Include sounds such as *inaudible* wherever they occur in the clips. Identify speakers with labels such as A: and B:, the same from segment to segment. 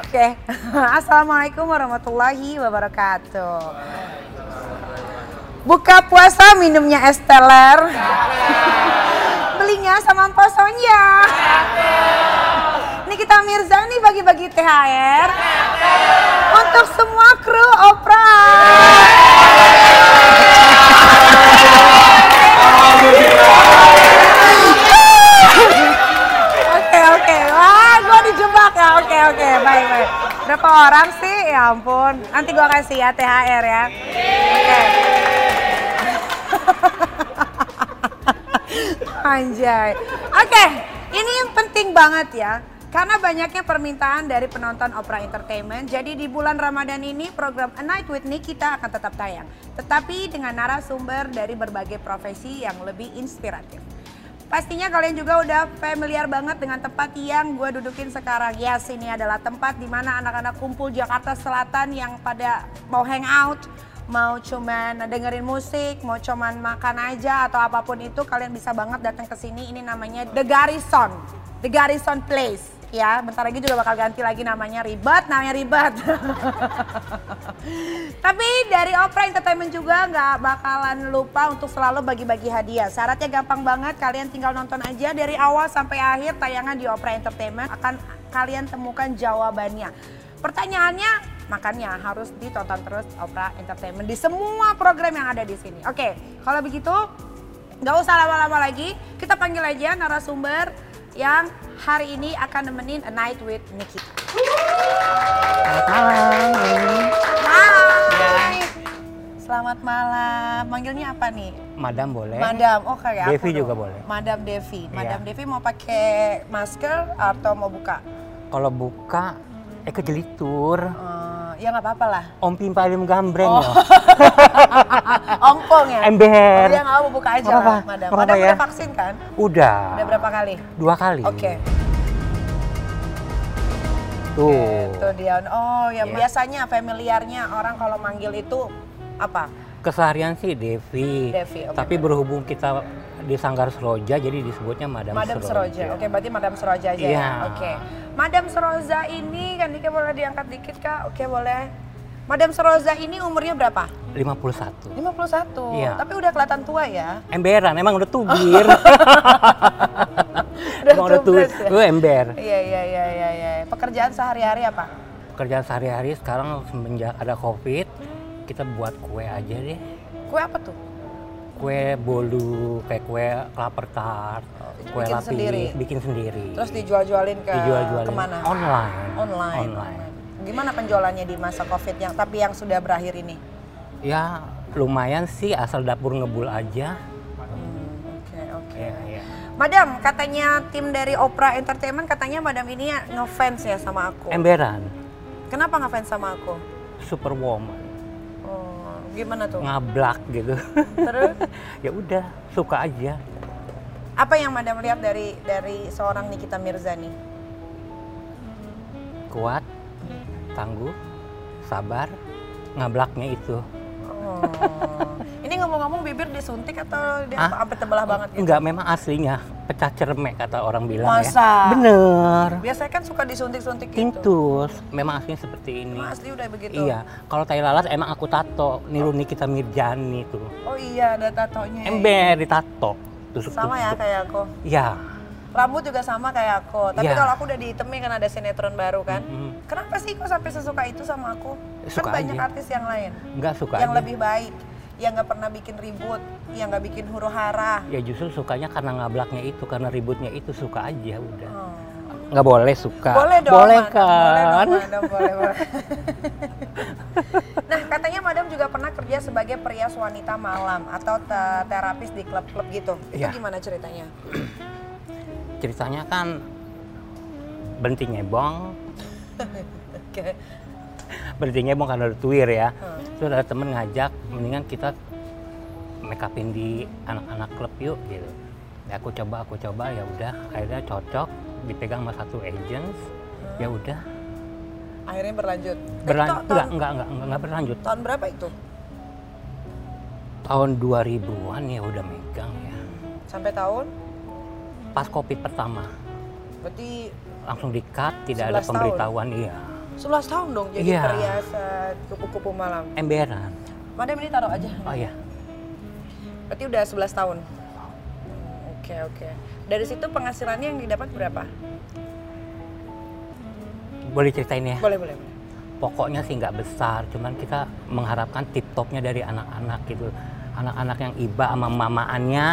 A: Oke, *laughs* assalamualaikum warahmatullahi wabarakatuh. Buka puasa minumnya es teler. *laughs* Belinya sama Mpok Sonja. Nikita Mirzani bagi-bagi THR. Untuk semua kru Oprah. Oke oke, wah gue dijebak ya. Oke oke, baik baik. Berapa orang sih? Ya ampun. Nanti gue kasih ya THR ya. Oke. *laughs* Anjay. Oke, ini yang penting banget ya. Karena banyaknya permintaan dari penonton Opera Entertainment, jadi di bulan Ramadan ini program A Night with Nikita akan tetap tayang. Tetapi dengan narasumber dari berbagai profesi yang lebih inspiratif. Pastinya kalian juga udah familiar banget dengan tempat yang gue dudukin sekarang. Yes, ini adalah tempat di mana anak-anak kumpul Jakarta Selatan yang pada mau hangout, mau cuman dengerin musik, mau cuman makan aja atau apapun itu kalian bisa banget datang ke sini. Ini namanya The Garrison, The Garrison Place. Ya, bentar lagi juga bakal ganti lagi namanya ribet, *laughs* namanya ribet. Tapi dari Opera Entertainment juga nggak bakalan lupa untuk selalu bagi-bagi hadiah. Syaratnya gampang banget, kalian tinggal nonton aja dari awal sampai akhir tayangan di Opera Entertainment akan kalian temukan jawabannya. Pertanyaannya, makanya harus ditonton terus Opera Entertainment di semua program yang ada di sini. Oke, kalau begitu nggak usah lama-lama lagi, kita panggil aja narasumber yang hari ini akan nemenin A Night with Nikita. Hai. Selamat malam. Manggilnya apa nih?
B: Madam boleh.
A: Madam. Oh, kayak aku
B: Eh? Devi
A: dong.
B: juga boleh.
A: Madam Devi. Madam
B: Iya.
A: Devi mau pakai masker atau mau buka?
B: Kalau buka, eh kejelitur.
A: Eh, ya nggak apa-apa lah. *laughs*
B: Om Pimpalim gambreng
A: Oh.
B: loh.
A: Ongkong ya.
B: Ember.
A: Oh, ya nggak apa-apa, buka aja
B: Nggak apa-apa,
A: lah, Madam.
B: nggak
A: Madam
B: apa-apa
A: udah
B: ya.
A: vaksin kan?
B: Udah.
A: Udah berapa kali?
B: Dua kali.
A: Oke.
B: Tuh.
A: Itu dia. Oh, yang
B: Iya.
A: biasanya familiarnya orang kalau manggil itu apa?
B: Keseharian sih Devi.
A: Devi, oke.
B: Iya. Tapi berhubung kita di Sanggar Seroja, jadi disebutnya Madam,
A: Madam Seroja. Oke, berarti Madam Seroja aja ya.
B: Iya.
A: Oke. Madam Seroja ini kan Dika boleh diangkat dikit Kak. Oke, boleh. Madam Seroja ini umurnya berapa?
B: 51.
A: 51.
B: Iya.
A: Tapi udah kelihatan tua ya.
B: Emberan,
A: *laughs*
B: emang udah tubir. emang udah tubir.
A: tubres ya?
B: Lu ember.
A: Iya, iya, iya, iya, iya. Pekerjaan sehari-hari apa?
B: Kerjaan sehari-hari sekarang semenjak ada COVID, kita buat kue aja deh.
A: Kue apa tuh?
B: kue bolu, kayak kue kelapa tart,
A: itu
B: kue
A: bikin
B: lapis,
A: sendiri?
B: bikin sendiri.
A: Terus dijual-jualin ke
B: dijual-jualin
A: kemana?
B: online.
A: Online.
B: Online.
A: Gimana penjualannya di masa Covid yang tapi yang sudah berakhir ini?
B: Ya lumayan sih asal dapur ngebul aja.
A: Hmm, Oke, oke.
B: Ya, ya.
A: Madam, katanya tim dari Opera Entertainment katanya Madam ini ngefans ya sama aku.
B: Emberan,
A: Kenapa ngefans sama aku?
B: superwoman,
A: Oh, gimana tuh?
B: ngablak gitu. *laughs*
A: Terus
B: ya udah, suka aja.
A: apa yang Madam lihat dari dari seorang Nikita Mirzani?
B: Kuat, tangguh, sabar, ngablaknya itu.
A: Oh. Ini ngomong-ngomong bibir disuntik atau dia
B: Hah?
A: apa tebelah banget gitu?
B: Enggak, memang aslinya pecah cermek kata orang bilang
A: Masa?
B: ya. Bener.
A: Biasanya kan suka disuntik-suntik gitu.
B: Tintus, memang aslinya seperti ini.
A: Emang Asli udah begitu.
B: Iya, kalau tai lalat emang aku tato, niru Nikita Mirjani tuh.
A: Oh iya, ada tatonya.
B: Ember ditato. Tusuk
A: Sama ya kayak aku.
B: Iya.
A: Rambut juga sama kayak aku. Tapi
B: Iya.
A: kalau aku udah dihitemin kan ada sinetron baru kan.
B: Mm,
A: Kenapa sih kok sampai sesuka itu sama aku?
B: Suka
A: kan banyak
B: aja.
A: artis yang lain
B: Enggak suka.
A: yang
B: aja.
A: lebih baik, yang nggak pernah bikin ribut, yang nggak bikin huru hara.
B: Ya justru sukanya karena ngablaknya itu, karena ributnya itu suka aja udah.
A: Oh.
B: Nggak boleh suka.
A: Boleh dong.
B: Boleh
A: Madam. Boleh
B: kan?
A: dong, Madam. Boleh,
B: *laughs*
A: boleh. *laughs* nah, katanya Madam juga pernah kerja sebagai perias wanita malam atau te- terapis di klub-klub gitu. Itu
B: Iya.
A: gimana ceritanya?
B: Ceritanya kan berhenti ngebong,
A: Oke.
B: berhenti ngebong karena udah tuir ya.
A: Hmm.
B: Terus ada temen ngajak, mendingan kita make upin di anak-anak klub yuk gitu. Ya, aku coba, aku coba ya udah. Akhirnya cocok, dipegang sama satu agents. Ya udah,
A: Akhirnya berlanjut. Hmm. Eh,
B: berlanjut
A: to-
B: enggak,
A: tahun,
B: enggak, enggak, enggak, enggak berlanjut.
A: tahun berapa itu?
B: Tahun 2000-an ya udah megang ya.
A: Sampai tahun?
B: Pas Covid pertama,
A: Berarti
B: langsung di-cut, tidak
A: 11
B: ada
A: tahun.
B: pemberitahuan iya.
A: 11 tahun dong jadi
B: Iya.
A: perhiasan kupu-kupu malam.
B: Emberan.
A: Madam ini taruh aja.
B: Oh iya.
A: Berarti udah 11 tahun. Oke, oke. Dari situ penghasilannya yang didapat berapa?
B: Boleh ceritain ya.
A: Boleh, boleh, boleh.
B: Pokoknya sih nggak besar, cuman kita mengharapkan tip topnya dari anak-anak gitu. Anak-anak yang iba sama mamaannya,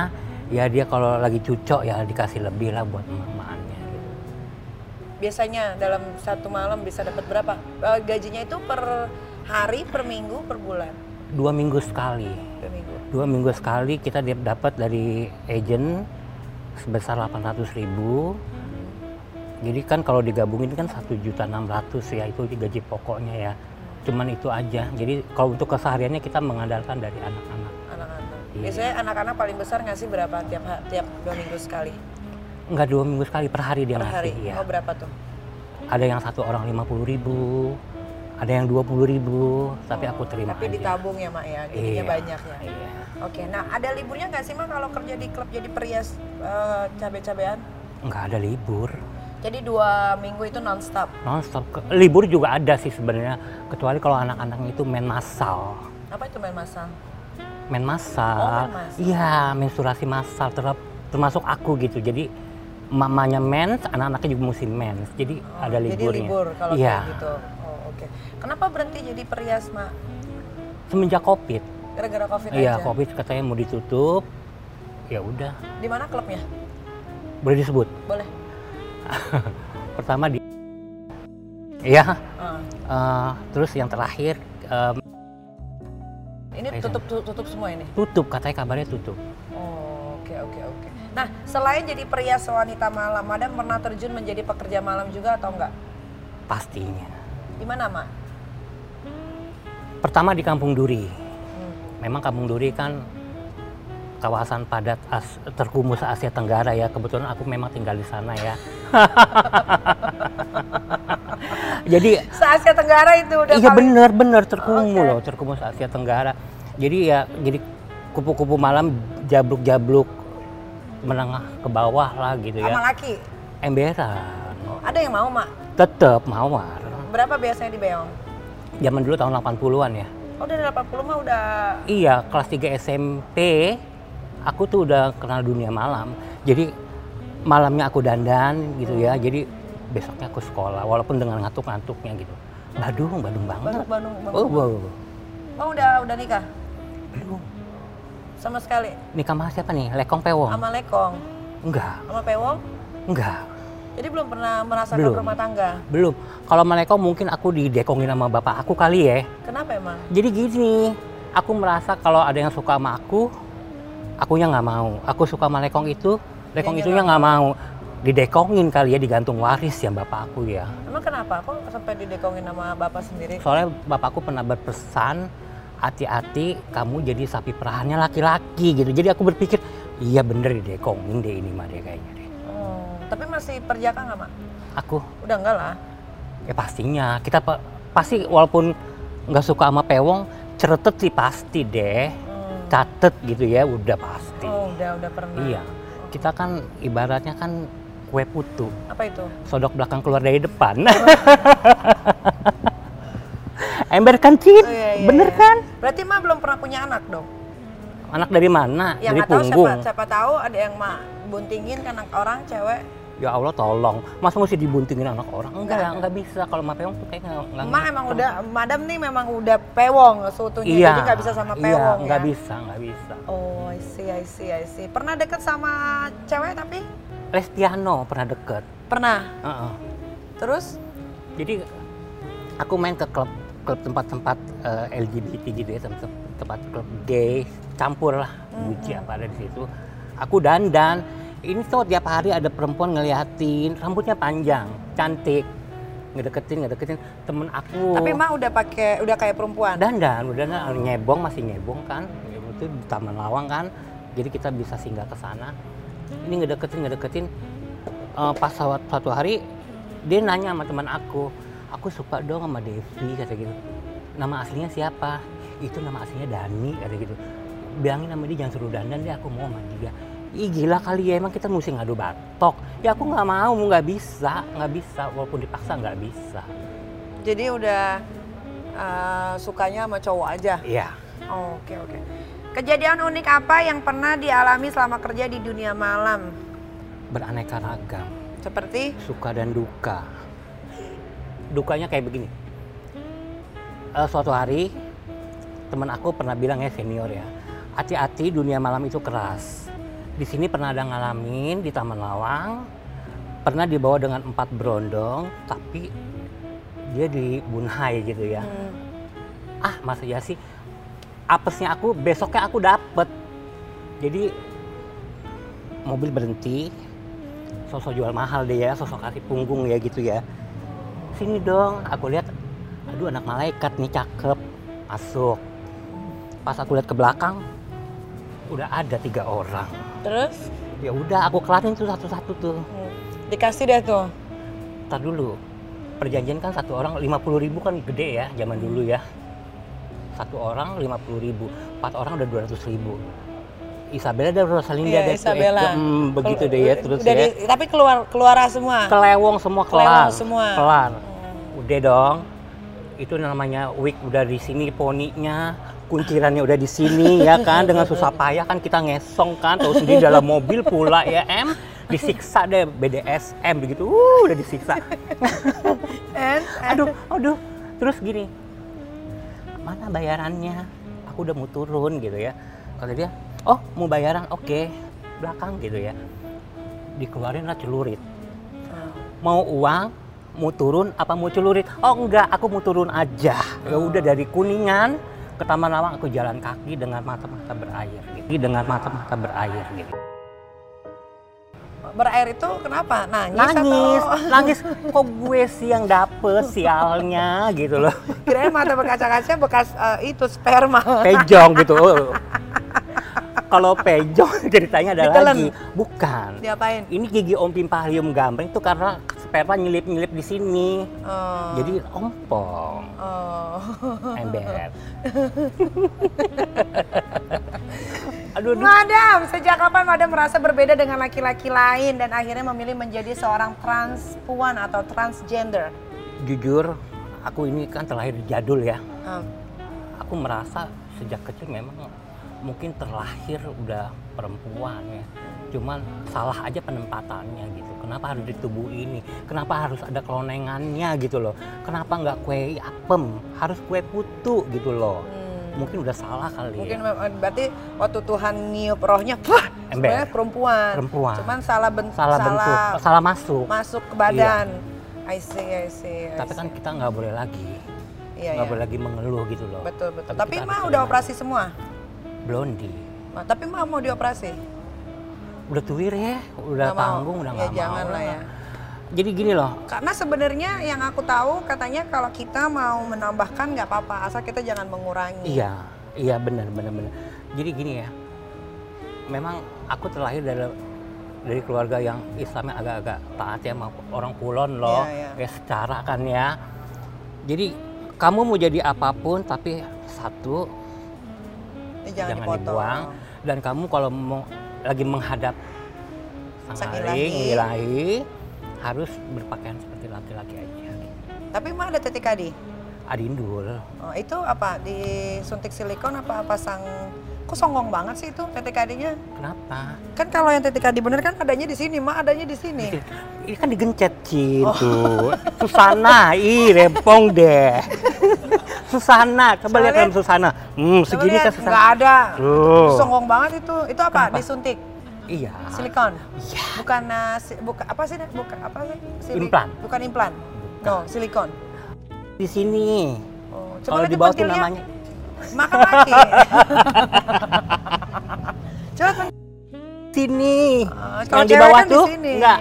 B: ya dia kalau lagi cucok ya dikasih lebih lah buat mamaannya. Gitu.
A: Biasanya dalam satu malam bisa dapat berapa? Eh, Gajinya itu per hari, per minggu, per bulan,
B: Dua minggu sekali.
A: per minggu.
B: dua minggu sekali kita dia- dapat dari agent sebesar 800.000 ribu jadi kan kalau digabungin kan 1.600.000 ya itu gaji pokoknya ya cuman itu aja jadi kalau untuk kesehariannya kita mengandalkan dari anak-anak
A: Anak-anak.
B: Iya.
A: Biasanya anak-anak paling besar ngasih berapa tiap ha- tiap dua minggu sekali
B: nggak dua minggu sekali per hari
A: per
B: dia ngasih
A: hari?
B: ya
A: Oh berapa tuh?
B: ada yang satu orang 50.000 ribu ada yang 20.000 ribu tapi aku terima
A: Tapi
B: aja.
A: ditabung ya mak ya, gajinya
B: Iya.
A: banyak ya.
B: Iya.
A: Oke, nah ada liburnya nggak sih mak kalau kerja di klub jadi perias eh, cabe-cabean?
B: nggak ada libur
A: Jadi dua minggu itu nonstop.
B: nonstop Ke- libur juga ada sih sebenarnya kecuali kalau anak-anaknya itu main massal
A: Apa itu main masang?
B: men
A: Oh,
B: massal.
A: men massal.
B: Iya, menstruasi massal terap- termasuk aku gitu. Jadi mamanya mens, anak-anaknya juga mesti mens. Jadi
A: Oh,
B: ada liburnya.
A: Jadi libur kalau
B: Iya.
A: kayak gitu. Oh, oke. Kenapa berhenti jadi perias, Mak?
B: Semenjak Covid.
A: Gara-gara Covid
B: Iya,
A: Gitu aja.
B: Covid katanya mau ditutup. Ya udah,
A: Di mana klubnya?
B: boleh disebut.
A: Boleh.
B: *laughs* Pertama di Iya,
A: Ah.
B: eh, terus yang terakhir eh,
A: Ini
B: Kayak
A: tutup tu- tutup semua ini.
B: tutup katanya kabarnya tutup.
A: Oh, oke oke oke. Nah, selain jadi perias wanita malam, Madam pernah terjun menjadi pekerja malam juga atau enggak?
B: Pastinya.
A: Di mana, Mak?
B: Pertama di Kampung Duri.
A: Hmm.
B: Memang Kampung Duri kan kawasan padat as- terkumus Asia Tenggara ya. Kebetulan aku memang tinggal di sana ya. *laughs* Jadi
A: Se-Asia Tenggara itu udah
B: iya
A: paling-
B: benar-benar terkumus
A: Oke.
B: loh, terkumus Asia Tenggara. Jadi ya jadi kupu-kupu malam jabluk-jabluk menengah ke bawah lah gitu
A: sama
B: ya.
A: laki.
B: Emberan.
A: Ada yang mau, Mak?
B: Tetep mawar.
A: Berapa biasanya di Beong?
B: Zaman dulu tahun 80-an ya.
A: Oh, dari 80 mah udah
B: Iya, kelas 3 SMP aku tuh udah kenal dunia malam. Jadi malamnya aku dandan gitu ya. Jadi besoknya aku sekolah walaupun dengan ngantuk-ngantuknya gitu. Badung, badung banget.
A: Bandung Bandung. Bandung.
B: Oh, wow.
A: Oh, udah udah nikah
B: Belum.
A: sama sekali
B: Nikah sama siapa nih? Lekong Pewong?
A: sama Lekong,
B: Enggak,
A: sama Pewong.
B: enggak.
A: Jadi belum pernah merasakan
B: Belum.
A: rumah tangga.
B: Belum. Kalau sama Lekong mungkin aku didekongin sama bapak aku kali ya.
A: Kenapa emang?
B: Jadi gini, aku merasa kalau ada yang suka sama aku, akunya nggak mau. Aku suka sama lekong itu, lekong
A: Dianya
B: itunya nggak mau. Didekongin kali ya, digantung waris ya bapak aku ya.
A: Emang kenapa? Kok sampai didekongin sama bapak sendiri?
B: Soalnya bapakku pernah berpesan, hati-hati kamu jadi sapi perahannya laki-laki gitu. Jadi aku berpikir, iya bener didekongin deh ini mah deh kayaknya deh.
A: Oh, tapi masih perjaka nggak, Mak?
B: Aku,
A: Udah enggak lah.
B: ya pastinya, kita pe- pasti walaupun nggak suka sama pewong, ceretet sih pasti deh.
A: Hmm.
B: Catet gitu ya, udah pasti.
A: Oh, udah udah pernah.
B: Iya, kita kan ibaratnya kan kue putu,
A: Apa itu?
B: sodok belakang keluar dari depan.
A: Oh.
B: *laughs* Ember kan Cin?
A: Oh, iya, iya,
B: bener
A: iya.
B: kan?
A: Berarti Mak belum pernah punya anak dong?
B: Anak dari
A: Yang
B: mana? dari
A: Ya, nggak tahu
B: punggung.
A: siapa, siapa tahu ada yang Mak buntingin kan anak orang cewek.
B: Ya Allah tolong, masa mesti dibuntingin anak orang? Enggak,
A: Enggak.
B: enggak, bisa. Kalau sama Peong tuh kayaknya enggak.
A: Mak emang udah, Madam nih memang udah pewong seutuhnya,
B: Iya.
A: jadi nggak bisa sama
B: Iya,
A: pewong
B: enggak
A: ya?
B: bisa, enggak bisa.
A: Oh, I see, I see, I see. Pernah deket sama cewek tapi?
B: Lestiano pernah deket.
A: Pernah.
B: Heeh.
A: Terus?
B: Jadi aku main ke klub klub tempat-tempat eh, LGBT gitu ya, tempat, tempat klub gay, campur lah, buci apa ada di situ. Aku dandan, ini tuh tiap hari ada perempuan ngeliatin, rambutnya panjang, cantik, ngedeketin, ngedeketin temen aku.
A: Tapi Mak udah pakai, udah kayak perempuan.
B: dandan, Oh. udah dandan, nyebong masih nyebong kan, nyebong itu di Taman Lawang kan, jadi kita bisa singgah ke sana. Ini ngedeketin, ngedeketin, Eh, pas suat- suatu hari dia nanya sama teman aku, aku suka dong sama Devi kata gitu. Nama aslinya siapa? Itu nama aslinya Dani kata gitu. Bilangin sama dia jangan suruh dandan deh, aku mau sama dia. Ih gila kali ya emang kita mesti ngadu batok. Ya aku nggak mau, nggak bisa, nggak bisa. Walaupun dipaksa nggak bisa.
A: Jadi udah eh, sukanya sama cowok aja.
B: Iya.
C: Oke oke. Kejadian unik apa yang pernah dialami selama kerja di dunia malam?
B: Beraneka ragam,
A: Seperti
B: suka dan duka. Dukanya kayak begini. Eh, suatu hari teman aku pernah bilang ya senior ya, hati-hati dunia malam itu keras. Di sini pernah ada ngalamin di Taman Lawang, pernah dibawa dengan empat berondong, tapi dia dibunhai gitu ya.
A: hmm,
B: ah masa ya sih apesnya aku besoknya aku dapet jadi mobil berhenti sosok jual mahal deh ya sosok kasih punggung ya gitu ya sini dong aku lihat aduh anak malaikat nih cakep masuk pas aku lihat ke belakang udah ada tiga orang
A: terus
B: ya udah aku kelarin tuh satu-satu tuh
A: hmm, dikasih deh tuh.
B: Ntar dulu, perjanjian kan satu orang 50.000 ribu kan gede ya zaman dulu ya. Satu orang 50.000 ribu, empat orang udah 200 ribu. Isabella dan Rosalinda
A: Iya,
B: deh tuh, eh,
A: Isabella.
B: hmm, begitu
A: Kelu-
B: deh ya terus
A: udah
B: ya.
A: di- tapi keluar keluar semua.
B: Kelewong semua kelar.
A: Kelewong semua.
B: Kelar.
A: Hmm.
B: Udah dong. Itu namanya wig udah di sini poninya, kuncirannya udah di sini ya kan dengan susah payah kan kita ngesong kan tahu sendiri dalam mobil pula ya em disiksa deh BDSM begitu uh, udah disiksa
C: And,
B: aduh aduh terus gini mana bayarannya aku udah mau turun gitu ya kata dia oh mau bayaran oke belakang gitu ya dikeluarin lah celurit mau uang mau turun apa mau celurit oh enggak aku mau turun aja ya udah dari kuningan ke Taman Lawang aku jalan kaki dengan mata-mata berair gitu. dengan mata-mata berair gitu
A: Berair itu kenapa? Nangis,
C: *laughs*
B: nangis
A: atau
B: nangis kok gue sih yang dapet sialnya gitu loh
A: kirain mata berkaca-kaca bekas eh, itu sperma.
B: *laughs* pejong gitu. Kalau pejong *laughs* ceritanya ada
A: Ditelan.
B: lagi. Bukan.
A: Diapain?
B: Ini gigi Om Pimpahlium gambreng itu karena sperma nyelip-nyelip di sini.
A: Oh.
B: Jadi
A: *laughs*
B: ompong,
A: Oh.
B: ember. aduh,
C: *laughs*
B: aduh.
C: Madam, sejak kapan Madam merasa berbeda dengan laki-laki lain dan akhirnya memilih menjadi seorang transpuan atau transgender?
B: Jujur, aku ini kan terlahir jadul ya.
A: Hmm.
B: Aku merasa sejak kecil memang mungkin terlahir udah perempuan ya. Cuman salah aja penempatannya gitu. Kenapa harus di tubuh ini? Kenapa harus ada kelonengannya gitu loh? Kenapa nggak kue apem? Harus kue putu gitu loh.
A: Hmm.
B: Mungkin udah salah kali
A: Mungkin
B: ya.
A: memang- berarti waktu Tuhan niup rohnya, wah,
B: Ember.
A: sebenarnya perempuan.
B: Perempuan.
A: Cuman salah bentuk,
B: salah, bentuk, salah masuk.
A: masuk ke badan. I see, I see. I
B: Tapi
A: see.
B: kan kita nggak boleh lagi,
A: Iya,
B: nggak
A: iya.
B: boleh lagi mengeluh gitu loh.
A: Betul, betul.
B: Tapi
A: Tapi,
B: kita
A: mah
B: harus
A: udah
B: terima.
A: operasi semua.
B: Blondie.
A: Ma, tapi mah mau dioperasi.
B: udah tuwir ya, udah
A: Nggak mau.
B: panggung, udah
A: Ya,
B: nggak
A: jangan
B: mau.
A: lah ya.
B: Jadi gini loh,
A: Karena sebenarnya yang aku tahu katanya kalau kita mau menambahkan nggak apa-apa, asal kita jangan mengurangi.
B: iya, iya benar benar benar. Jadi gini ya, memang aku terlahir dari dari keluarga yang Islamnya agak-agak taat ya, sama orang kulon loh,
A: Iya,
B: ya secara kan ya. Jadi kamu mau jadi apapun, tapi satu
A: Eh,
B: jangan,
A: jangan, dipotong.
B: dibuang. Dan kamu kalau mau lagi menghadap
A: Sang
B: sang
A: ilahi.
B: ilahi, ilahi, harus berpakaian seperti laki-laki aja.
A: Tapi mah ada titik adi.
B: Adindul.
A: Oh, itu apa disuntik silikon apa apa sang kok songong banget sih itu TTKD-nya?
B: Kenapa?
A: Kan kalau yang TTKD bener kan adanya di sini, mah adanya di sini.
B: Ini kan digencet Cin
A: Oh.
B: tuh. Susana, ih rempong deh. Susana, coba lihat dalam Susana.
A: Coba
B: Hmm, segini
A: lihat,
B: kan Susana.
A: nggak ada.
B: Tuh.
A: Songong banget itu. Itu apa?
B: Kenapa?
A: Disuntik
B: Iya.
A: silikon.
B: Iya.
A: Bukan eh, si- buka apa sih? Bukan apa sih? Sili-
B: Implan.
A: Bukan implan. No, silikon.
B: Di sini.
A: Oh, coba
B: Kalau
A: lihat
B: di bawah tuh
A: pentilnya.
B: namanya.
A: Makan
B: *laughs*
A: lagi. coba pen-
B: Sini.
A: Oh, kalau
B: Yang di
A: cewek
B: bawah
A: kan di
B: tuh
A: sini.
B: enggak.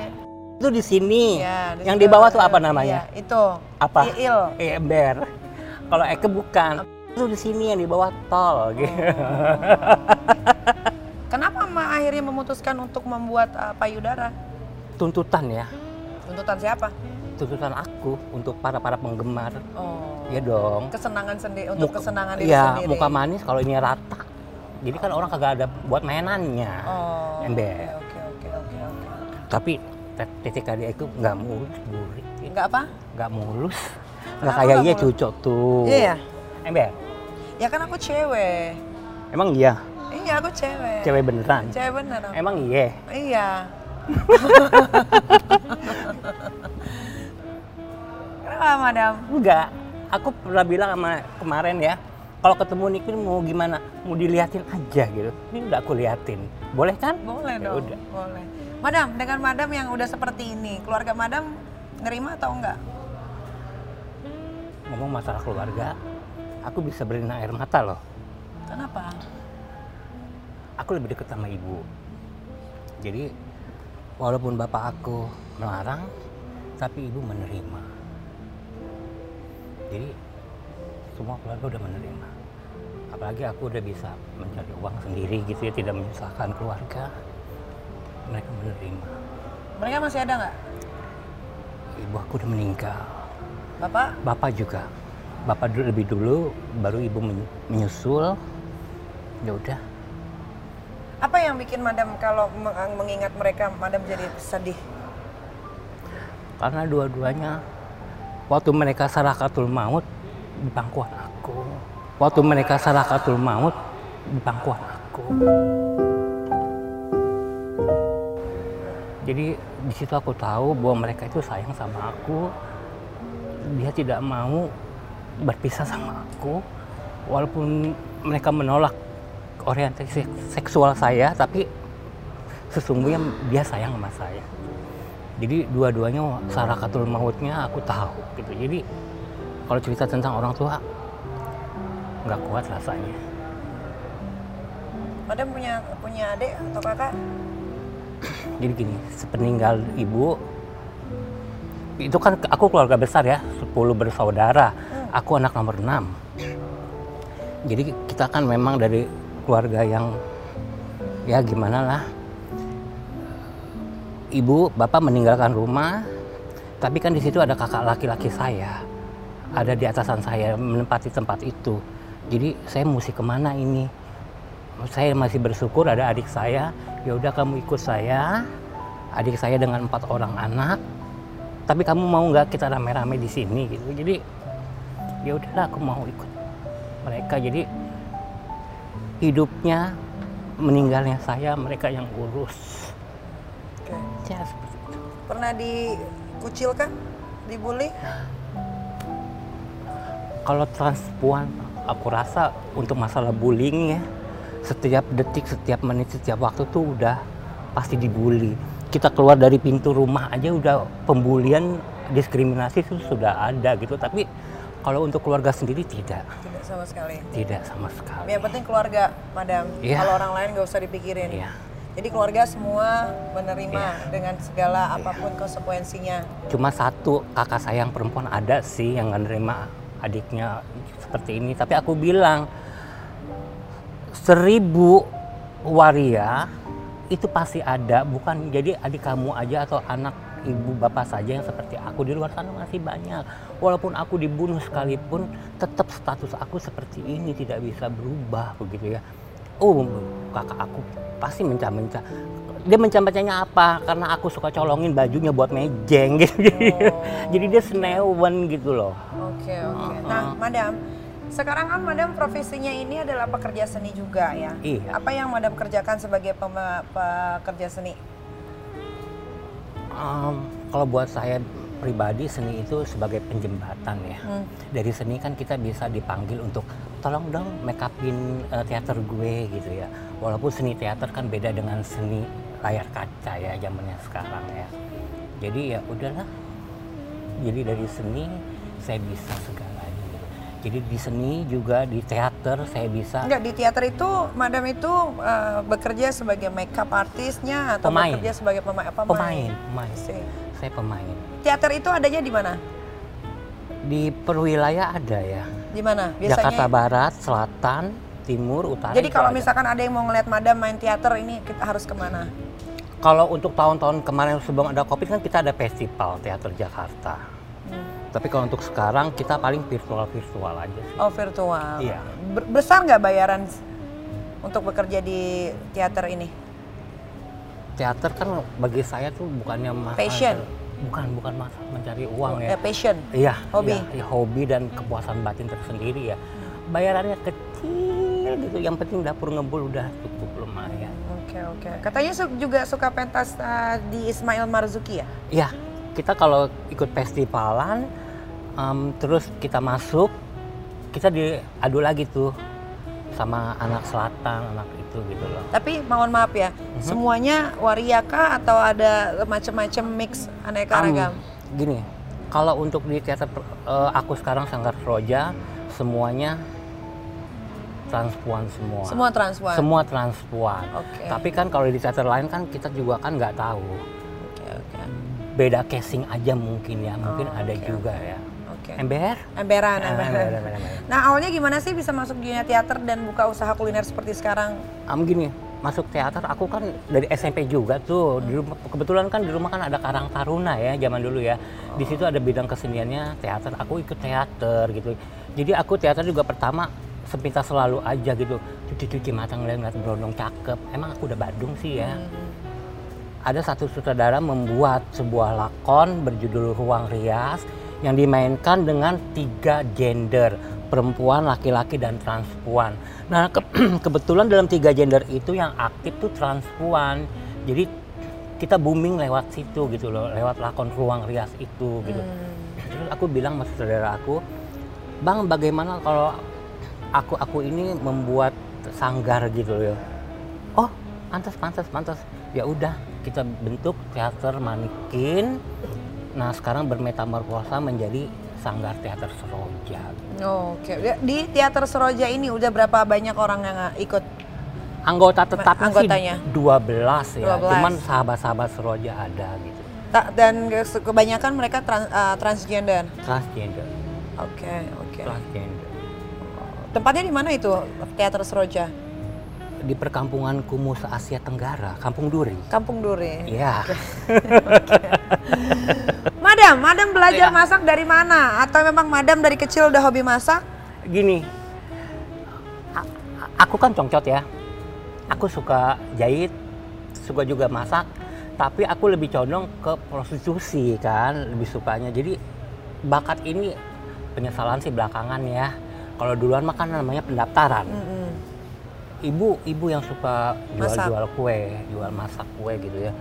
B: Itu di sini.
A: Iya,
B: Yang
A: situ.
B: di bawah tuh apa
A: Iya,
B: namanya?
A: itu.
B: Apa?
A: Iil.
B: Eh, ember. Kalau Eke bukan. Itu di sini yang di bawah tol gitu.
A: Oh. Kenapa emak akhirnya memutuskan untuk membuat eh, payudara?
B: Tuntutan ya.
A: Tuntutan siapa?
B: Tuntutan aku untuk para-para penggemar.
A: Oh.
B: Ya dong.
A: Kesenangan sendiri untuk kesenangan diri
B: ya,
A: sendiri.
B: muka manis kalau ini rata. Jadi kan orang kagak ada buat mainannya.
A: Oh.
B: Ember.
A: Oke, oke, oke, oke.
B: Tapi TTKD itu nggak mulus, burik, ya.
A: Enggak apa?
B: nggak mulus. nggak
A: Kenapa
B: kayak
A: nggak
B: iya
A: boleh?
B: cucok tuh
A: Iya.
B: ember
A: Ya kan aku cewek.
B: emang iya
A: Iya aku cewek.
B: cewek beneran
A: Cewek bener. aku.
B: emang iya
A: Iya.
B: *laughs*
A: Kenapa madam?
B: enggak aku pernah bilang sama kemarin ya kalau ketemu Nikin mau gimana mau diliatin aja gitu ini udah aku liatin boleh kan
A: Boleh
B: Ya
A: dong.
B: udah.
A: Boleh. Madam, dengan madam yang udah seperti ini, keluarga madam nerima atau enggak?
B: ngomong masalah keluarga aku bisa berenang air mata loh
A: Kenapa?
B: aku lebih deket sama ibu jadi walaupun bapak aku melarang tapi ibu menerima jadi semua keluarga udah menerima apalagi aku udah bisa mencari uang sendiri gitu ya tidak menyusahkan keluarga mereka menerima
A: Mereka masih ada nggak?
B: ibu aku udah meninggal
A: Bapak?
B: bapak juga bapak dulu lebih dulu baru ibu men- menyusul ya udah
A: Apa yang bikin madam kalau meng- mengingat mereka, madam jadi sedih?
B: karena dua-duanya waktu mereka sarakatul maut di pangkuan aku waktu mereka sarakatul maut di pangkuan aku jadi di situ aku tahu bahwa mereka itu sayang sama aku dia tidak mau berpisah sama aku walaupun mereka menolak orientasi seksual saya tapi sesungguhnya dia sayang sama saya jadi dua-duanya sarakatul mautnya aku tahu gitu jadi kalau cerita tentang orang tua nggak kuat rasanya
A: Madam punya punya adik atau kakak?
B: jadi gini sepeninggal ibu itu kan ke- aku keluarga besar ya 10 bersaudara aku anak nomor 6 jadi kita kan memang dari keluarga yang ya gimana lah ibu bapak meninggalkan rumah tapi kan di situ ada kakak laki-laki saya ada di atasan saya menempati tempat itu jadi saya mesti kemana ini saya masih bersyukur ada adik saya ya udah kamu ikut saya adik saya dengan empat orang anak tapi kamu mau nggak kita rame-rame di sini gitu jadi ya udahlah aku mau ikut mereka jadi hidupnya meninggalnya saya mereka yang urus
A: Oke.
B: ya seperti itu
A: Pernah dikucilkan? Dibully?
B: Ya. kalau transpuan aku rasa untuk masalah bullying ya setiap detik setiap menit setiap waktu tuh udah pasti dibully kita keluar dari pintu rumah aja udah pembulian diskriminasi itu sudah ada gitu tapi kalau untuk keluarga sendiri tidak
A: Tidak sama sekali.
B: tidak sama sekali
A: Yang penting keluarga, madam.
B: Iya.
A: Kalau orang lain nggak usah dipikirin.
B: Iya.
A: Jadi keluarga semua menerima
B: Ya.
A: dengan segala apapun konsekuensinya.
B: *laughs* cuma satu kakak saya yang perempuan ada sih yang nggak nerima adiknya seperti ini tapi aku bilang seribu waria itu pasti ada bukan jadi adik kamu aja atau anak ibu bapak saja yang seperti aku di luar sana masih banyak walaupun aku dibunuh sekalipun tetap status aku seperti ini tidak bisa berubah begitu ya oh kakak aku pasti mencah-mencah dia mencah-mencahnya apa karena aku suka colongin bajunya buat mejeng *laughs* gitu jadi dia senewen gitu loh
A: Oke oke. Nah, madam, sekarang kan madam profesinya ini adalah pekerja seni juga ya.
B: Iya.
A: Apa yang madam kerjakan sebagai pema- pekerja seni?
B: Em, kalau buat saya pribadi seni itu sebagai penjembatan ya. Dari seni kan kita bisa dipanggil untuk tolong dong make upin eh, teater gue gitu ya. Walaupun seni teater kan beda dengan seni layar kaca ya zamannya sekarang ya. Jadi ya udahlah. Jadi dari seni saya bisa segalanya. Jadi di seni juga di teater saya bisa
A: Enggak di teater itu, madam itu eh, bekerja sebagai makeup artisnya atau
B: Pemain.
A: bekerja sebagai pema-
B: pemain,
A: pemain.
B: pemain.
A: Sih.
B: Saya pemain.
A: Teater itu adanya di mana?
B: Di perwilayah ada ya.
A: Di mana? Biasanya.
B: Jakarta Barat, Selatan, Timur, Utara.
A: Jadi
B: itu
A: kalau
B: ada.
A: misalkan ada yang mau ngeliat madam main teater ini kita harus kemana?
B: kalau untuk tahun-tahun kemarin sebelum ada Covid kan kita ada festival teater Jakarta.
A: Hmm.
B: Tapi kalau untuk sekarang kita paling virtual-virtual aja sih.
A: Oh virtual.
B: Iya.
A: Ber- besar nggak bayaran s- untuk bekerja di teater ini?
B: Teater kan bagi saya tuh bukannya mahal.
A: Passion.
B: bukan bukan masalah mencari uang ya
A: Eh, passion.
B: Iya,
A: Hobi. Hmm.
B: iya, iya, hobi dan kepuasan batin tersendiri ya. Bayarannya kecil gitu, yang penting dapur ngebul udah cukup lumayan.
A: Oke oke. Katanya su- juga suka pentas eh, di Ismail Marzuki ya?
B: Iya, kita kalau ikut festivalan, em, terus kita masuk, kita diadu lagi tuh sama anak selatan, anak itu gitu loh.
A: Tapi mohon maaf ya,
B: Mhm.
A: semuanya waria kah atau ada macam-macam mix aneka
B: Am,
A: ragam?
B: Gini, kalau untuk di teater per- eh, aku sekarang Sanggar Roja, semuanya transpuan semua.
A: Semua transwan.
B: Semua transpuan.
A: Oke.
B: Tapi kan kalau di teater lain kan kita juga kan nggak tahu.
A: Oke oke
B: Beda casing aja mungkin ya, mungkin
A: Oh,
B: ada
A: oke,
B: juga ya.
A: oke.
B: Ember?
A: Emberan,
B: Ah,
A: emberan.
B: ember, ember, ember.
A: Nah awalnya gimana sih bisa masuk dunia teater dan buka usaha kuliner seperti sekarang?
B: Am gini, masuk teater aku kan dari SMP juga tuh. Di rumah, kebetulan kan di rumah kan ada Karang Taruna ya zaman dulu ya. Di situ ada bidang keseniannya teater. Aku ikut teater gitu. Jadi aku teater juga pertama sepintas selalu aja gitu. Cuci-cuci mata ngeliat-ngeliat berondong cakep. Emang aku udah Badung sih ya. Ada satu sutradara membuat sebuah lakon berjudul Ruang Rias yang dimainkan dengan tiga gender, perempuan, laki-laki, dan transpuan. Nah, ke- *clears throat* kebetulan dalam tiga gender itu yang aktif tuh transpuan. Jadi kita booming lewat situ gitu loh, lewat lakon Ruang Rias
A: Hmm,
B: itu gitu. Terus aku bilang sama saudara aku, Bang bagaimana kalau aku aku ini membuat sanggar gitu loh. Oh pantas pantas pantas. Ya udah kita bentuk teater manikin. Nah sekarang bermetamorfosa menjadi sanggar teater Seroja.
A: Oke, Ya, di teater Seroja ini udah berapa banyak orang yang uh, ikut?
B: Anggota tetapnya
A: Anggotanya.
B: sih 12 ya.
A: 12.
B: Cuman sahabat-sahabat Seroja ada gitu.
A: Ta- dan ke- kebanyakan mereka tran- uh, transgender.
B: Transgender,
A: Oke, oke.
B: transgender.
A: Tempatnya di mana itu teater Seroja?
B: Di perkampungan Kumus Asia Tenggara, Kampung Duri.
A: Kampung Duri.
B: Iya.
A: Madam, madam belajar
B: Iya.
A: masak dari mana? Atau memang madam dari kecil udah hobi masak?
B: gini a- a- aku kan congcot ya aku suka jahit suka juga masak tapi aku lebih condong ke prostitusi kan lebih sukanya jadi bakat ini penyesalan sih belakangan ya kalau duluan mah kan namanya pendaftaran
A: Mm-mm.
B: ibu ibu yang suka
A: Masak.
B: jual-jual kue, jual masak kue gitu ya.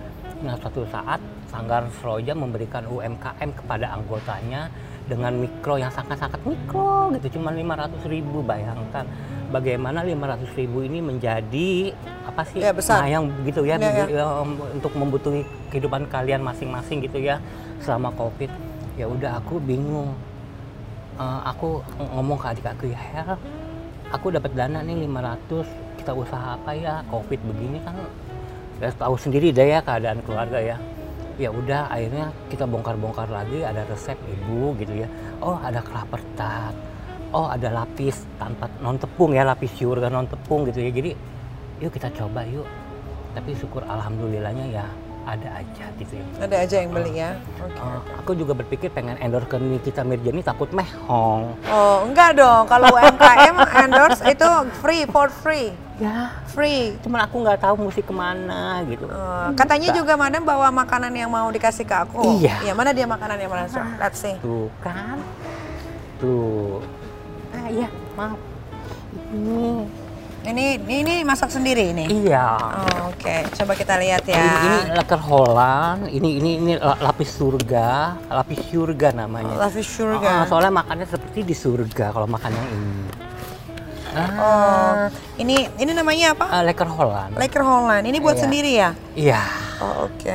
B: Nah suatu saat Sanggar Seroja memberikan UMKM kepada anggotanya dengan mikro yang sangat-sangat mikro gitu, cuma 500.000 ribu bayangkan bagaimana 500.000 ribu ini menjadi apa sih
A: Ya, besar.
B: yang gitu ya,
A: Ya, ya.
B: begitu ya, um, untuk membutuhi kehidupan kalian masing-masing gitu ya selama covid ya udah aku bingung Eh, aku ng- ngomong ke adik aku ya Hel aku dapat dana nih 500 kita usaha apa ya covid begini kan ya tahu sendiri deh ya keadaan keluarga ya ya udah akhirnya kita bongkar-bongkar lagi ada resep ibu gitu ya oh ada kerapertat oh ada lapis tanpa non tepung ya lapis siur kan non tepung gitu ya jadi yuk kita coba yuk tapi syukur alhamdulillahnya ya ada aja gitu ya
A: Ada aja yang beli ya. Oke.
B: Eh, aku juga berpikir pengen endorse ke Nikita Mirjani takut mehong
A: Oh, enggak dong.
B: *laughs*
A: Kalau UMKM endorse itu free for free.
B: ya
A: Free.
B: cuman aku nggak tahu mesti kemana gitu
A: Eh, katanya juga madam bawa makanan yang mau dikasih ke aku.
B: Iya. Ah.
A: Ya, mana dia makanan yang mana? So, Let's see.
B: tuh kan tuh ah iya maaf ini
A: Ini ini, ini masak sendiri ini.
B: iya
A: Oh, Oke, coba kita lihat ya.
B: ini, ini leker Holland ini ini ini la- lapis surga lapis surga namanya
A: Love is surga.
B: Ah, soalnya makannya seperti di surga kalau makan yang ini ah,
A: Oh, ini ini namanya apa?
B: ah, leker Holland
A: Leker Holland. Ini buat
B: Iya.
A: sendiri ya?
B: iya
A: Oh, oke.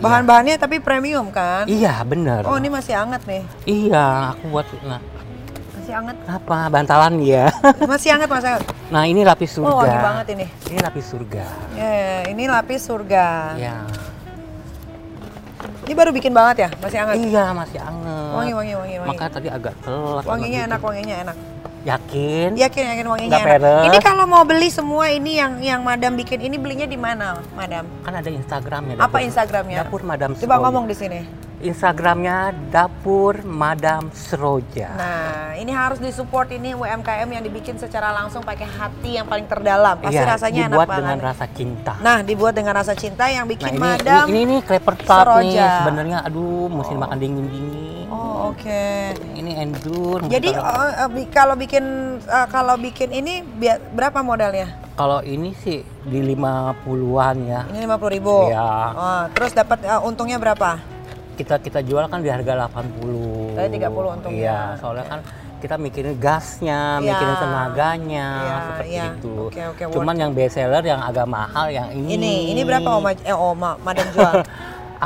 A: Bahan-bahannya tapi premium kan?
B: iya bener
A: Oh, ini masih anget nih.
B: iya aku buat nah
A: Masih anget.
B: Kenapa? Bantalan ya.
A: *laughs* Masih anget, Mas. Anget.
B: *laughs* Nah ini lapis surga.
A: Oh, wangi banget ini.
B: Ini lapis surga.
A: Eh, ini lapis surga.
B: Ya.
A: Ini baru bikin banget ya? Masih anget.
B: Iya masih anget.
A: Wangi, wangi, wangi, wangi.
B: Makanya tadi agak telat.
A: Wanginya Iya.
B: banget
A: enak,
B: gitu.
A: wanginya enak.
B: Yakin?
A: Yakin, yakin wanginya
B: Nggak
A: enak.
B: peres.
A: Ini kalau mau beli semua ini yang yang Madam bikin, ini belinya di mana, Madam?
B: Kan ada Instagramnya.
A: Apa
B: dapur-
A: Instagramnya?
B: Dapur Madam
A: Coba
B: Seroja.
A: ngomong di sini.
B: Instagramnya dapur Madam Seroja.
A: Nah, ini harus disupport ini UMKM yang dibikin secara langsung pakai hati yang paling terdalam. Pasti
B: Iya,
A: rasanya enak
B: dibuat
A: banget.
B: dengan rasa cinta. Nah,
A: Nah, dibuat dengan rasa cinta yang bikin
B: ini,
A: madam.
B: ini ini creper tart nih
A: Seroja.
B: sebenarnya aduh mesti makan dingin dingin.
A: Oh, oke.
B: Ini endure.
A: Jadi
B: Kalau-
A: eh, eh, bi- kalau bikin eh, kalau bikin ini bia- berapa modalnya?
B: kalau ini sih di 50-an ya.
A: Ini 50.000. ribu.
B: Iya.
A: terus dapat eh, untungnya berapa?
B: Kita kita jual kan di harga 80.
A: Tadi 30 untungnya.
B: Iya, soalnya kan kita mikirin
A: ya.
B: gasnya,
A: Iya.
B: mikirin tenaganya
A: Iya,
B: seperti
A: iya.
B: itu.
A: Oke, oke,
B: Cuman yang best seller yang agak mahal yang ini.
A: Ini, ini berapa Oma? Eh, Oma, Madam
B: *laughs*
A: jual.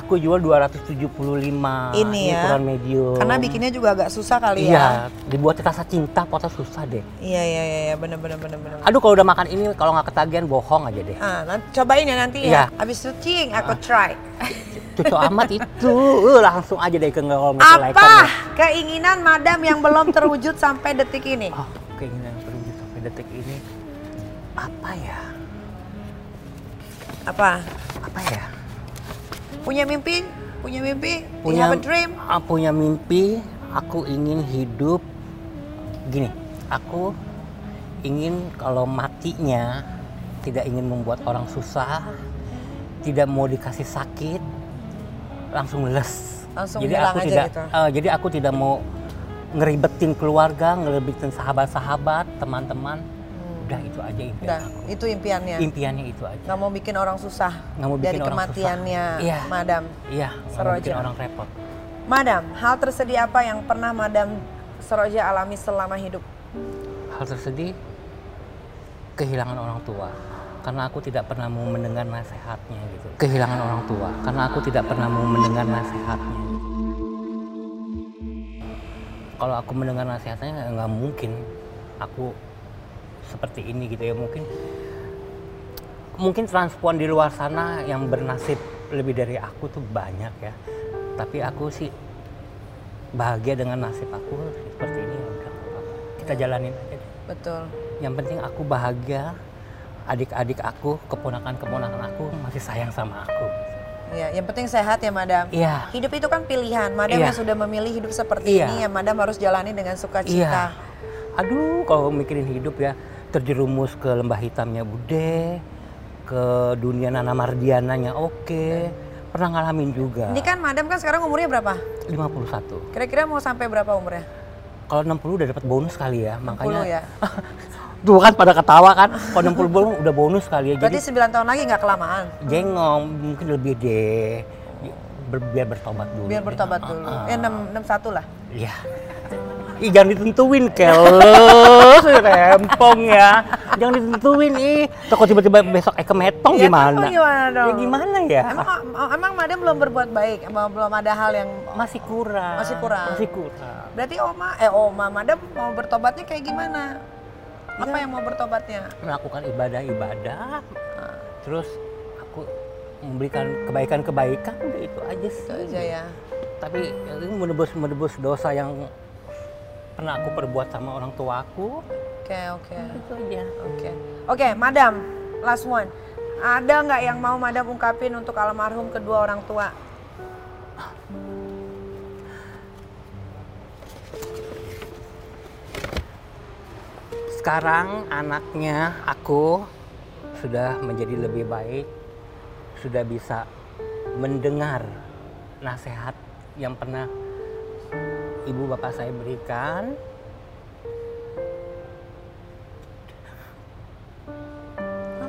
B: Aku jual 275.
A: Ini ya.
B: ukuran medium.
A: Karena bikinnya juga agak susah kali ya.
B: Iya, dibuat rasa cinta potong susah deh.
A: Iya, iya, iya, iya, bener, bener, bener, bener.
B: Aduh kalau udah makan ini kalau nggak ketagihan bohong aja deh.
A: Ah, nanti, cobain ya nanti ya.
B: Iya.
A: Abis syuting aku try.
B: Cocok amat itu. Uh, langsung aja deh ke ngolong
A: Apa keinginan madam yang belum terwujud sampai detik ini?
B: Oh, keinginan yang perlu sampai detik ini apa ya?
A: Apa?
B: Apa ya?
A: Punya mimpi? Punya mimpi? Punya have a dream?
B: ah, punya mimpi. Aku ingin hidup gini. Aku ingin kalau matinya tidak ingin membuat orang susah, tidak mau dikasih sakit, langsung les.
A: Langsung
B: jadi
A: hilang
B: aku
A: aja
B: tidak,
A: gitu.
B: eh, jadi aku tidak mau ngeribetin keluarga, ngeribetin sahabat-sahabat, teman-teman. Udah itu aja impian
A: Nah,
B: aku.
A: itu impiannya.
B: Impiannya itu aja.
A: Nggak mau bikin orang susah
B: Nggak mau bikin
A: dari
B: orang
A: kematiannya
B: susah. Iya.
A: madam.
B: Iya,
A: Seru
B: kalau bikin
A: aja.
B: orang repot.
A: Madam, hal tersedia apa yang pernah madam Seroja alami selama hidup?
B: Hal tersedih kehilangan orang tua karena aku tidak pernah mau mendengar nasihatnya gitu. Kehilangan orang tua karena aku tidak pernah mau mendengar nasihatnya. Kalau aku mendengar nasihatnya nggak- nggak mungkin aku seperti ini gitu ya mungkin mungkin transpuan di luar sana yang bernasib lebih dari aku tuh banyak ya tapi aku sih bahagia dengan nasib aku seperti ini ya udah nggak apa-apa. kita jalanin aja deh.
A: Betul.
B: yang penting aku bahagia adik-adik aku keponakan-keponakan aku masih sayang sama aku
A: Ya, yang penting sehat ya madam.
B: iya
A: Hidup itu kan pilihan. Madam
B: Iya.
A: yang sudah memilih hidup seperti
B: Iya.
A: ini ya madam harus jalani dengan
B: iya
A: sukacita.
B: aduh kalau mikirin hidup ya terjerumus ke lembah hitamnya bude ke dunia Nana Mardiananya oke pernah ngalamin juga
A: Ini kan madam kan sekarang umurnya berapa?
B: 51
A: Kira-kira mau sampai berapa umurnya?
B: kalau 60 udah dapat bonus kali ya makanya
A: 10 ya.
B: *laughs* tuh kan pada ketawa kan kalau 60 belum *laughs* udah bonus kali ya jadi
A: Berarti 9 tahun lagi nggak kelamaan.
B: jengong mungkin lebih deh Ber- biar bertobat dulu
A: Biar
B: deh.
A: bertobat
B: Ah,
A: dulu. Eh 6 61 lah.
B: iya Ih, jangan ditentuin
A: *laughs*
B: kel rempong ya jangan ditentuin ih takut tiba-tiba besok Eke metong
A: Ya,
B: Oh, gimana
A: kamu gimana dong?
B: ya gimana ya
A: Emang emang Madam belum berbuat baik, emang belum ada hal yang
B: masih kurang
A: Masih kurang.
B: masih kurang
A: berarti Oma eh Oma Madam mau bertobatnya kayak gimana?
B: Ya.
A: Apa yang mau bertobatnya?
B: melakukan ibadah-ibadah ah. terus aku memberikan kebaikan-kebaikan udah itu aja sih
A: Itu aja ya.
B: tapi ini menebus menebus dosa yang pernah aku perbuat sama orang tua aku
A: Oke, oke.
B: itu aja
A: Oke. Oke, Madam, last one. Ada nggak yang mau Madam ungkapin untuk almarhum kedua orang tua?
B: sekarang anaknya aku sudah menjadi lebih baik sudah bisa mendengar nasihat yang pernah ibu bapak saya berikan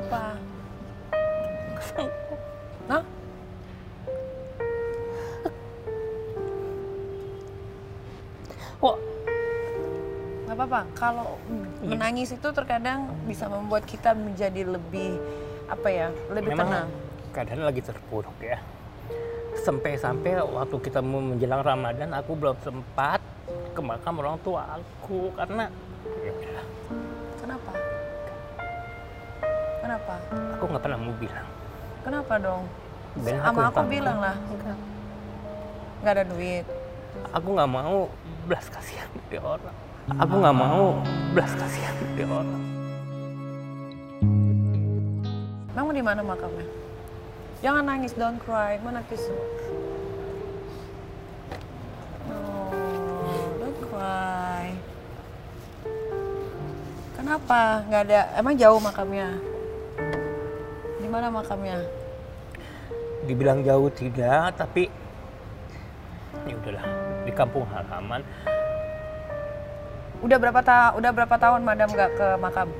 B: *laughs*
A: Apa?
B: kok
A: Gak apa-apa. Kalau menangis itu terkadang bisa membuat kita menjadi lebih apa ya? Lebih tenang.
B: memang keadaan lagi terpuruk ya sampai-sampai waktu kita mau menjelang Ramadan aku belum sempat ke makam orang tua aku karena ya,
A: Kenapa? Kenapa?
B: aku nggak pernah mau bilang
A: Kenapa dong?
B: Biar
A: Sama
B: aku
A: aku
B: lupa.
A: bilang lah. Nggak ada duit.
B: aku nggak mau belas kasihan dari orang aku
A: Nah.
B: nggak mau belas kasihan dari orang
A: Emang di mana makamnya? Jangan nangis, don't cry, menangis. Oh, Kenapa? Nggak ada. Emang jauh makamnya? Di mana makamnya?
B: dibilang jauh tidak tapi ya udahlah di kampung halaman
A: Udah berapa ta udah berapa tahun Madam nggak ke makam?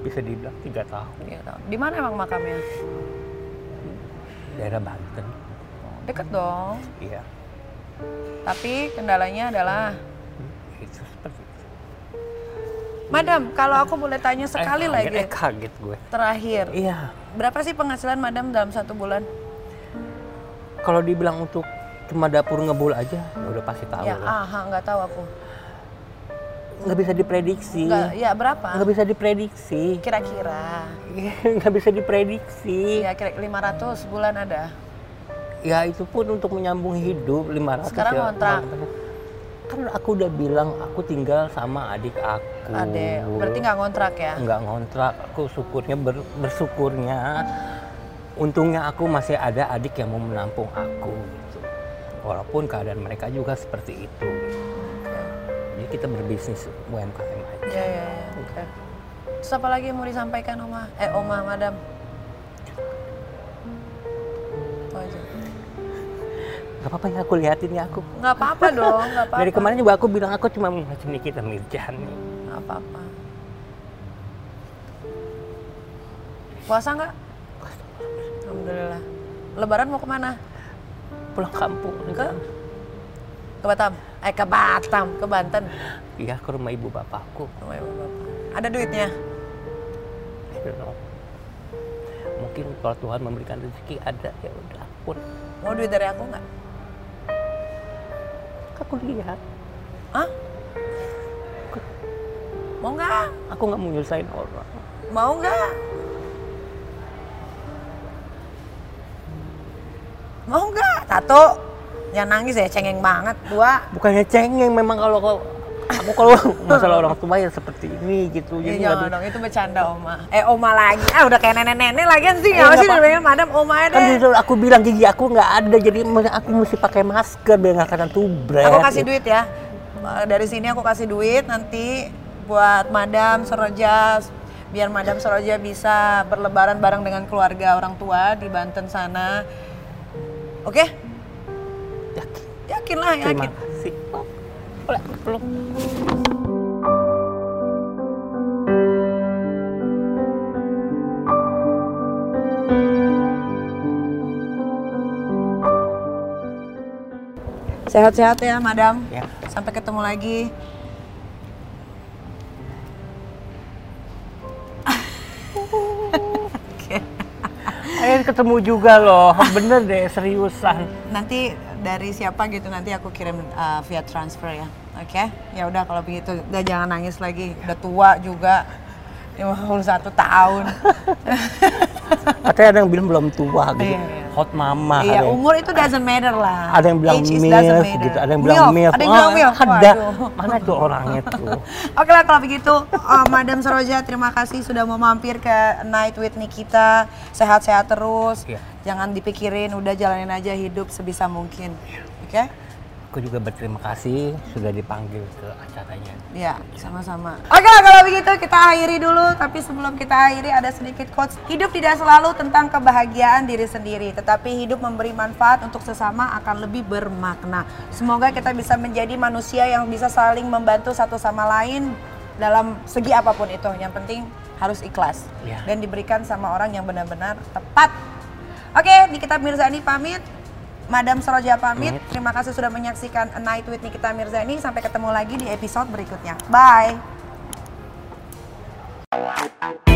B: bisa dibilang tiga tahun
A: Tiga tahun. Di mana emang makamnya?
B: daerah Banten
A: Deket dong.
B: iya
A: Tapi kendalanya adalah
B: itu seperti itu.
A: Madam, kalau aku boleh tanya sekali
B: Eh, kaget,
A: lagi
B: eh, kaget gue
A: terakhir.
B: iya
A: Berapa sih penghasilan Madam dalam satu bulan?
B: kalau dibilang untuk cuma dapur ngebul aja ya udah pasti tahu
A: ya,
B: lah.
A: aha, nggak tahu aku.
B: nggak bisa diprediksi
A: Nggak, ya berapa?
B: nggak bisa diprediksi *laughs*
A: Kira-kira.
B: nggak bisa diprediksi
A: Ya, kira 500 sebulan ada.
B: ya itu pun untuk menyambung hidup 500
A: Sekarang
B: ya,
A: ngontrak.
B: kan aku udah bilang aku tinggal sama adik aku
A: Ade, berarti nggak ngontrak ya?
B: nggak ngontrak aku syukurnya ber- bersyukurnya untungnya aku masih ada adik yang mau menampung aku gitu walaupun keadaan mereka juga seperti itu gitu. jadi kita berbisnis UMKM aja
A: Ya, ya, ya. Oke. Terus apa lagi yang mau disampaikan Oma? Eh, Oma, Madam. Itu aja.
B: nggak apa-apa ya aku liatin ya aku
A: Nggak apa-apa dong, nggak apa-apa.
B: dari kemarin juga aku bilang aku cuma macam Nikita Mirjan
A: Nggak apa-apa. Puasa nggak? Alhamdulillah. Lebaran mau kemana?
B: pulang kampung gitu.
A: Ke? Ke Batam? Eh, ke Batam, ke Banten.
B: iya ke rumah ibu bapakku
A: Sama ibu bapak. Ada duitnya?
B: I don't know. "Oh, mungkin kalau Tuhan memberikan rezeki ada ya udah pun
A: Mau duit dari aku nggak?
B: aku lihat
A: Hah? Mau nggak?
B: aku nggak mau nyusahin orang
A: Mau nggak? Mau nggak? Satu, jangan nangis ya, cengeng banget. Dua,
B: bukannya cengeng memang kalau kalau- aku
A: *laughs*
B: kalau masalah orang tua ya seperti ini
A: ya
B: gitu jadi nggak
A: jangan
B: bisa.
A: dong, itu bercanda oma. Eh oma lagi, ah udah kayak nenek-nenek lagi sih,
B: Iya,
A: nggak sih
B: nggak
A: namanya madam oma aja
B: kan
A: deh.
B: justru aku bilang gigi aku nggak ada jadi mesti- aku mesti pakai masker biar nggak kena tubret
A: Aku kasih
B: gitu.
A: duit ya, Eh, dari sini aku kasih duit nanti buat madam Soroja, biar madam Soroja bisa berlebaran bareng dengan keluarga orang tua di Banten sana. Oke?
B: Yakin.
A: Yakinlah, yakin.
B: terima kasih Boleh, peluk.
A: Sehat-sehat ya, Madam.
B: Ya.
A: Sampai ketemu lagi.
B: Akhirnya ketemu juga loh
A: *laughs*
B: bener deh seriusan
A: Nanti dari siapa gitu nanti aku kirim uh, via transfer ya. Oke? Ya udah kalau begitu udah jangan nangis lagi. Udah tua juga. 51 tahun.
B: *laughs* katanya ada yang bilang belum tua gitu
A: Iya, iya.
B: hot mama
A: Iya,
B: ada yang-
A: umur itu doesn't matter lah.
B: ada yang bilang
A: Age is doesn't
B: milf
A: matter.
B: gitu ada yang bilang milf
A: Ada yang bilang
B: Oh,
A: milf.
B: ada
A: Waduh. *laughs*
B: mana tuh orangnya tuh
A: Oke lah kalau begitu, eh, Madam Soroja terima kasih sudah mau mampir ke Night with Nikita. Sehat-sehat terus.
B: Iya.
A: Jangan dipikirin, udah jalanin aja hidup sebisa mungkin.
B: Iya.
A: Oke?
B: aku juga berterima kasih sudah dipanggil ke acaranya
A: Ya, sama-sama. Oke lah kalau begitu kita akhiri dulu, tapi sebelum kita akhiri ada sedikit quotes. Hidup tidak selalu tentang kebahagiaan diri sendiri, tetapi hidup memberi manfaat untuk sesama akan lebih bermakna. Semoga kita bisa menjadi manusia yang bisa saling membantu satu sama lain dalam segi apapun itu. Yang penting harus ikhlas
B: Iya.
A: dan diberikan sama orang yang benar-benar tepat. Oke, Nikita Mirzani pamit. Madam Soroja pamit. Terima kasih sudah menyaksikan A Night with Nikita Mirzani. Sampai ketemu lagi di episode berikutnya. Bye.